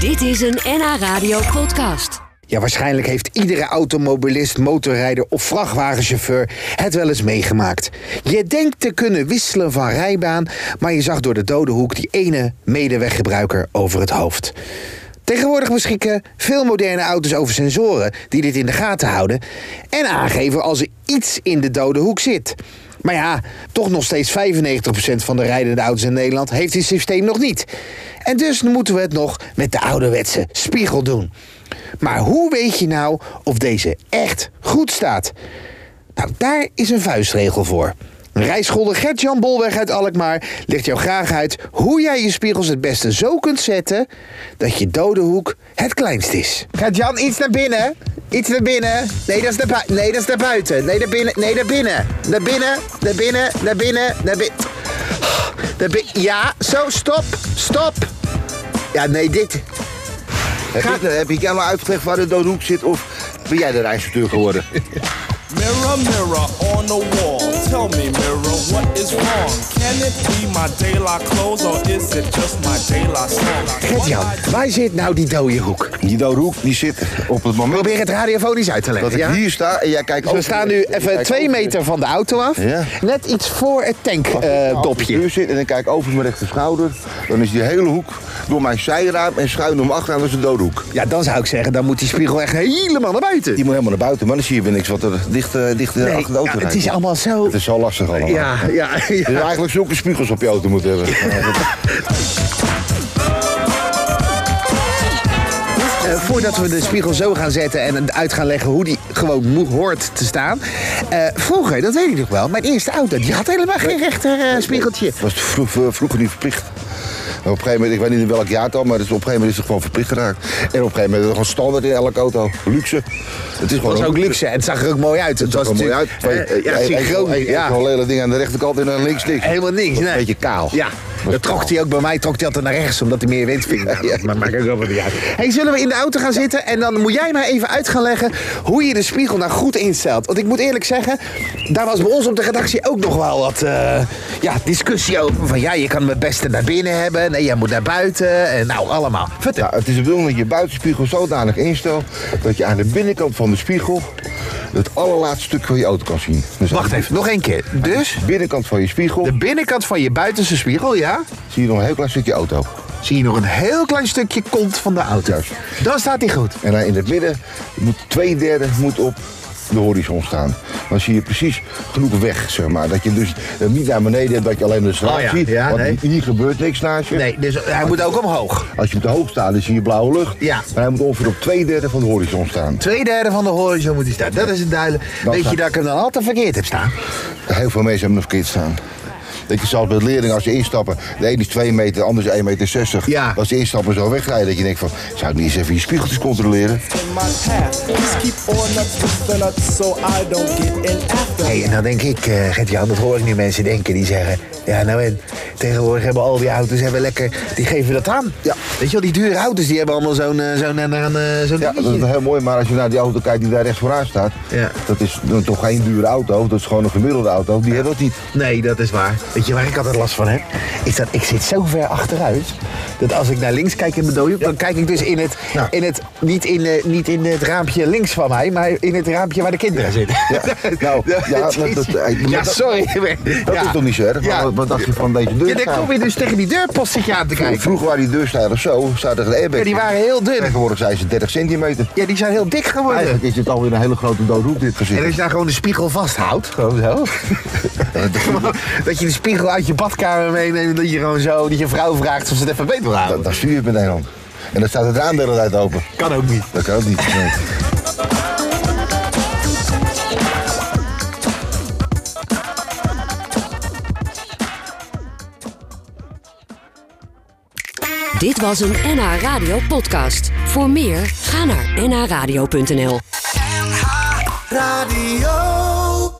Dit is een NH Radio podcast. Ja, waarschijnlijk heeft iedere automobilist, motorrijder of vrachtwagenchauffeur het wel eens meegemaakt. Je denkt te kunnen wisselen van rijbaan, maar je zag door de dode hoek die ene medeweggebruiker over het hoofd. Tegenwoordig beschikken veel moderne auto's over sensoren die dit in de gaten houden en aangeven als er iets in de dode hoek zit. Maar ja, toch nog steeds 95% van de rijdende auto's in Nederland heeft dit systeem nog niet. En dus moeten we het nog met de ouderwetse spiegel doen. Maar hoe weet je nou of deze echt goed staat? Nou, daar is een vuistregel voor. Rijschoolder Gert-Jan Bolweg uit Alkmaar legt jou graag uit hoe jij je spiegels het beste zo kunt zetten dat je dode hoek het kleinst is. Gert-Jan, iets naar binnen. Iets naar binnen. Nee, dat is naar, bui- nee, dat is naar buiten. Nee, naar binnen. Nee, naar binnen. Naar binnen. Naar binnen. Naar binnen. Naar binnen. Naar binnen. Ja, zo, stop. Stop. Ja, nee, dit. Heb, Ga- ik, heb ik jou nou uitgelegd waar de dode hoek zit of ben jij de rijinstructeur geworden? Mirror, mirror on the wall. Tell me, mirror, what is wrong? Can it be my daylight clothes or is it just my daylight song? Gert-Jan, waar zit nou die dode hoek? Die dode hoek die zit op het moment Probeer het radiofonisch uit te leggen. dat ik ja? hier sta en jij kijkt Dus we staan nu even twee meter van de auto af. Ja. Net iets voor het eh, eh, dopje. tankdopje. deur zit en dan kijk ik over mijn rechter schouder. Dan is die hele hoek door mijn zijraam en schuin om achteraan dat is de dode hoek. ja, dan zou ik zeggen, dan moet die spiegel echt helemaal naar buiten. Die moet helemaal naar buiten, maar dan zie je weer niks wat er dicht, eh, dicht eh, Nee, achter de auto ja, het rijdt. is allemaal zo... Het is zo lastig allemaal. Ja, ja, Dus ja. eigenlijk zulke spiegels op je auto moeten hebben. Dus- Eh, voordat we de spiegel zo gaan zetten en uit gaan leggen hoe die gewoon moe hoort te staan. eh, vroeger, dat weet ik nog wel, mijn eerste auto, die had helemaal geen rechter eh, spiegeltje. was vro- vro- vroeger niet verplicht. En op een gegeven moment, ik weet niet in welk jaar het al, maar het is- op een gegeven moment is het gewoon verplicht geraakt. En op een gegeven moment is het gewoon standaard in elke auto. Luxe. Het is Dat gewoon was een ook luxe en het zag er ook mooi uit. Het was Gewoon mooi uit. natuurlijk Twee, eh, ja, één- één- synchroon. één- één- ja. Gewoon lelijk ding aan de rechterkant en aan links niks. Helemaal niks, nee. Een beetje kaal. Ja, Was dat trok kaal. hij ook bij mij, trok hij altijd naar rechts, omdat hij meer wind ving. Ja, dat ma- maakt ook allemaal niet uit. Hey, zullen we in de auto gaan zitten en dan moet jij maar even uit gaan leggen hoe je de spiegel nou goed instelt. Want ik moet eerlijk zeggen, daar was bij ons op de redactie ook nog wel wat eh, ja, discussie over. Van ja, je kan hem het beste naar binnen hebben, nee, jij moet naar buiten, en nou, allemaal. Vertel. Ja, het is de bedoeling dat je buitenspiegel zodanig instelt dat je aan de binnenkant van de spiegel het allerlaatste stuk van je auto kan zien. Dus aan Wacht de even, nog één keer. Dus, Binnenkant van je spiegel de binnenkant van je buitenste spiegel, ja, zie je nog een heel klein stukje auto. zie je nog een heel klein stukje kont van de auto. Juist. Dan staat hij goed. En dan in het midden moet twee derde moet op de horizon staan. Dan zie je precies genoeg weg, zeg maar. Dat je dus eh, niet naar beneden hebt, dat je alleen de straat Oh ja, ziet. ja, want nee. hier gebeurt niks naast je. Nee, dus hij moet ook omhoog. Als je op de hoogte staat, dan zie je blauwe lucht. Ja. Maar hij moet ongeveer op twee derde van de horizon staan. Tweederde van de horizon moet hij staan. Dat is het duidelijk. Dan Weet je staat- dat ik hem dan altijd verkeerd heb staan? Heel veel mensen hebben nog verkeerd staan. Dat je zelfs met leerlingen, als ze instappen, de ene is 2 meter, de ander is 1,60 meter. 60. Ja. Als ze instappen zo wegrijden, dat je denkt van, zou ik niet eens even je spiegeltjes controleren? In my path, please keep on up with the nuts so I don't get in after. Hey, en dan denk ik, eh Gert-Jan, dat hoor ik nu mensen denken die zeggen... Ja, nou en tegenwoordig hebben al die auto's hebben lekker... Die geven dat aan. Ja. Weet je wel, die dure auto's die hebben allemaal zo'n eh, zo'n eh, eh, zo'n Ja, dat dingetje. is heel mooi, maar als je naar die auto kijkt die daar rechts vooraan staat, Ja. dat is dan toch geen dure auto, dat is gewoon een gemiddelde auto, die hebben dat niet. Nee, dat is waar. Weet je waar ik altijd last van heb? Is dat ik zit zo ver achteruit... dat als ik naar links kijk in mijn dode hoek, dan kijk ik dus in het... Ja. In het niet, in, eh, niet in het raampje links van mij, maar in het raampje waar de kinderen zitten. Ja, nou, ja, dat- dat- eh, Ja, dat- sorry. maar- Dat ja. is toch niet zo erg? Ja. Wat, wat dacht je van deze deur? Nou, Ja, dan kom je dus tegen die deurpost zit je aan te kijken. Vroeger waren die deurstijlen zo, zaten er de airbags. Ja, die waren heel dun. Tegenwoordig zijn ze 30 centimeter. Ja, die zijn heel dik geworden. Eigenlijk is het alweer een hele grote dode hoek dit En als gezicht. je daar gewoon de spiegel vasthoudt, gewoon zo. Gewoon dat je de spiegel uit je badkamer meeneemt en dat je gewoon zo, dat je vrouw vraagt of ze het even beter wil houden. Dan, dan stuur je het met één hand. En dan staat het raam de hele tijd open. kan ook niet. Dat kan ook niet. nee. Dit was een NH Radio podcast. Voor meer, ga naar nhradio.nl. Radio.